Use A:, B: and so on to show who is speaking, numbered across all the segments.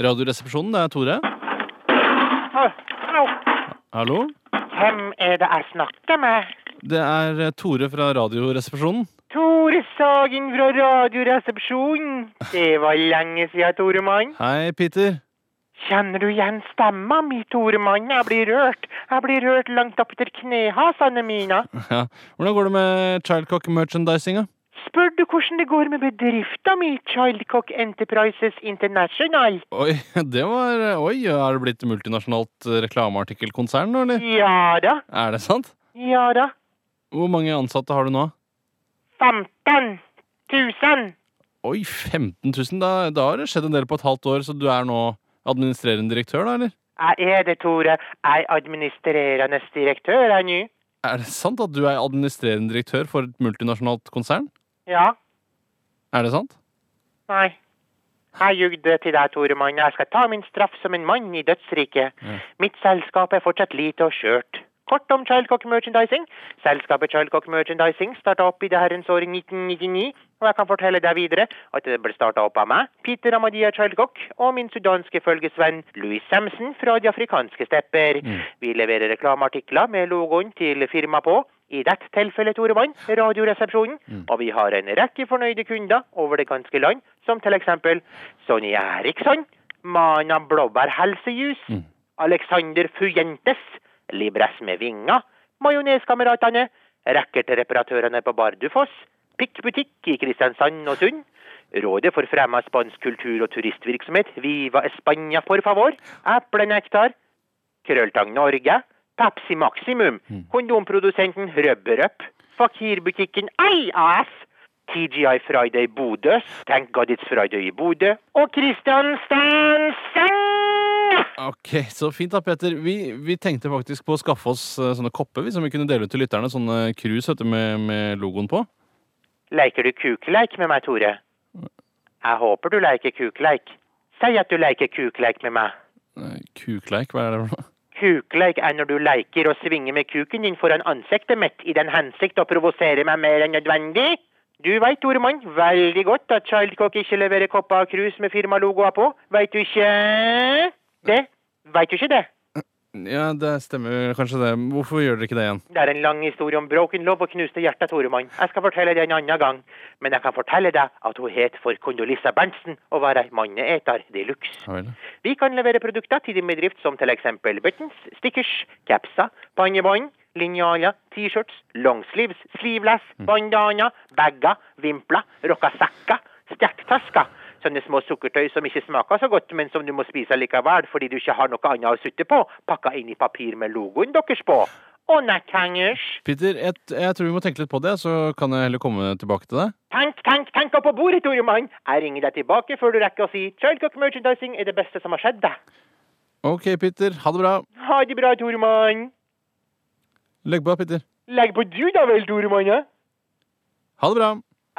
A: Radioresepsjonen, det er Tore.
B: Hallo.
A: Hallo?
B: Hvem er det jeg snakker med?
A: Det er eh, Tore fra Radioresepsjonen.
B: Tore Sagen fra Radioresepsjonen. Det var lenge siden, Tore Mann.
A: Hei, Peter.
B: Kjenner du igjen stemma mi, Tore Mann? Jeg blir rørt. Jeg blir rørt langt opp til knehasene mine.
A: Ja. Hvordan går det med Childcock-merchandisinga?
B: Spør du hvordan det går med bedrifta mi, Childcock Enterprises International?
A: Oi, det var Oi, er det blitt multinasjonalt eh, reklameartikkelkonsern nå, eller?
B: Ja da.
A: Er det sant?
B: Ja da.
A: Hvor mange ansatte har du nå?
B: 15 000.
A: Oi, 15 000. Da, da har det skjedd en del på et halvt år, så du er nå administrerende direktør, da, eller?
B: Jeg er det, Tore. Jeg er administrerende direktør jeg nå.
A: Er det sant at du er administrerende direktør for et multinasjonalt konsern?
B: Ja.
A: Er det sant?
B: Nei. Jeg jugde til deg, Tore Mann. Jeg skal ta min straff som en mann i dødsriket. Mitt selskap er fortsatt lite og skjørt. Kort om Childcock Merchandising. Selskapet Childcock Merchandising starta opp i det herrens år 1999, og jeg kan fortelle deg videre at det ble starta opp av meg, Peter Amadia Childcock, og min sudanske følgesvenn Louis Samson fra de afrikanske stepper. Vi leverer reklameartikler med logoen til firmaet på, i dette tilfellet, Tore Mann, Radioresepsjonen. Og vi har en rekke fornøyde kunder over det ganske land, som til eksempel Sonja Eriksson, Mana Blåbær Helsejus, Alexander Fujentes, Libres med vinger, Majoneskameratene, Rackert-reparatørene på Bardufoss, Pikk butikk i Kristiansand og Sund, Rådet for fremmed spansk kultur- og turistvirksomhet, Viva España, for favor, Eplenektar, Krølltang Norge, Pepsi Maximum, kondomprodusenten Røbberup, Fakirbutikken IAS, TGI Friday Bodø, Thank God It's Friday i Bodø, og Kristiansand!
A: Ok, så fint da, Peter. Vi, vi tenkte faktisk på å skaffe oss eh, sånne kopper vi, som vi kunne dele ut til lytterne. Sånne krus vet du, med, med logoen på.
B: Leker du kukleik med meg, Tore? Jeg håper du leker kukleik. Si at du leker kukleik med meg.
A: Eh, Kukleik, hva er det for noe?
B: Kukleik er når du leker å svinge med kuken din foran ansiktet mitt i den hensikt å provosere meg mer enn nødvendig. Du veit, Toremann, veldig godt at Childcock ikke leverer kopper og krus med firmalogoer på. Veit du ikke det? Veit du ikke det?
A: Ja, det stemmer kanskje det. Hvorfor gjør dere ikke det igjen?
B: Det er en lang historie om broken love og knuste hjerter, Toremann. Jeg skal fortelle det en annen gang. Men jeg kan fortelle deg at hun het for Kondolissa Berntsen og var ei manneeter de luxe.
A: Ja vel.
B: Vi kan levere produkter til din bedrift som til eksempel buttons, stickers, capser, pannebånd, linjaler, t-shirts, longsleeves, sleeveless, bandana, bagger, vimpler, rockasekker, stjekktasker. Sånne små sukkertøy som ikke smaker så godt, men som du må spise likevel fordi du ikke har noe annet å sutte på, pakka inn i papir med logoen deres på. Og netthengers.
A: Peter, jeg, jeg tror vi må tenke litt på det, så kan jeg heller komme tilbake til deg.
B: Tenk, tenk, tenk opp på bordet, Tore Mann! Jeg ringer deg tilbake før du rekker å si Childcock Merchandising er det beste som har skjedd deg.
A: Ok, Peter. Ha det bra.
B: Ha det bra, Tore Mann!
A: Legg på, Peter.
B: Legg på du da vel, Tore Manne.
A: Ha det bra.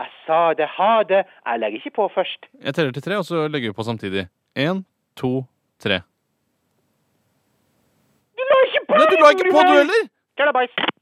B: Jeg sa det, ha det. Jeg legger ikke på først.
A: Jeg teller til tre, og så legger vi på samtidig. Én, to, tre.
B: Du la ikke på!
A: Nei, du la ikke på, du heller!
B: Kalabais.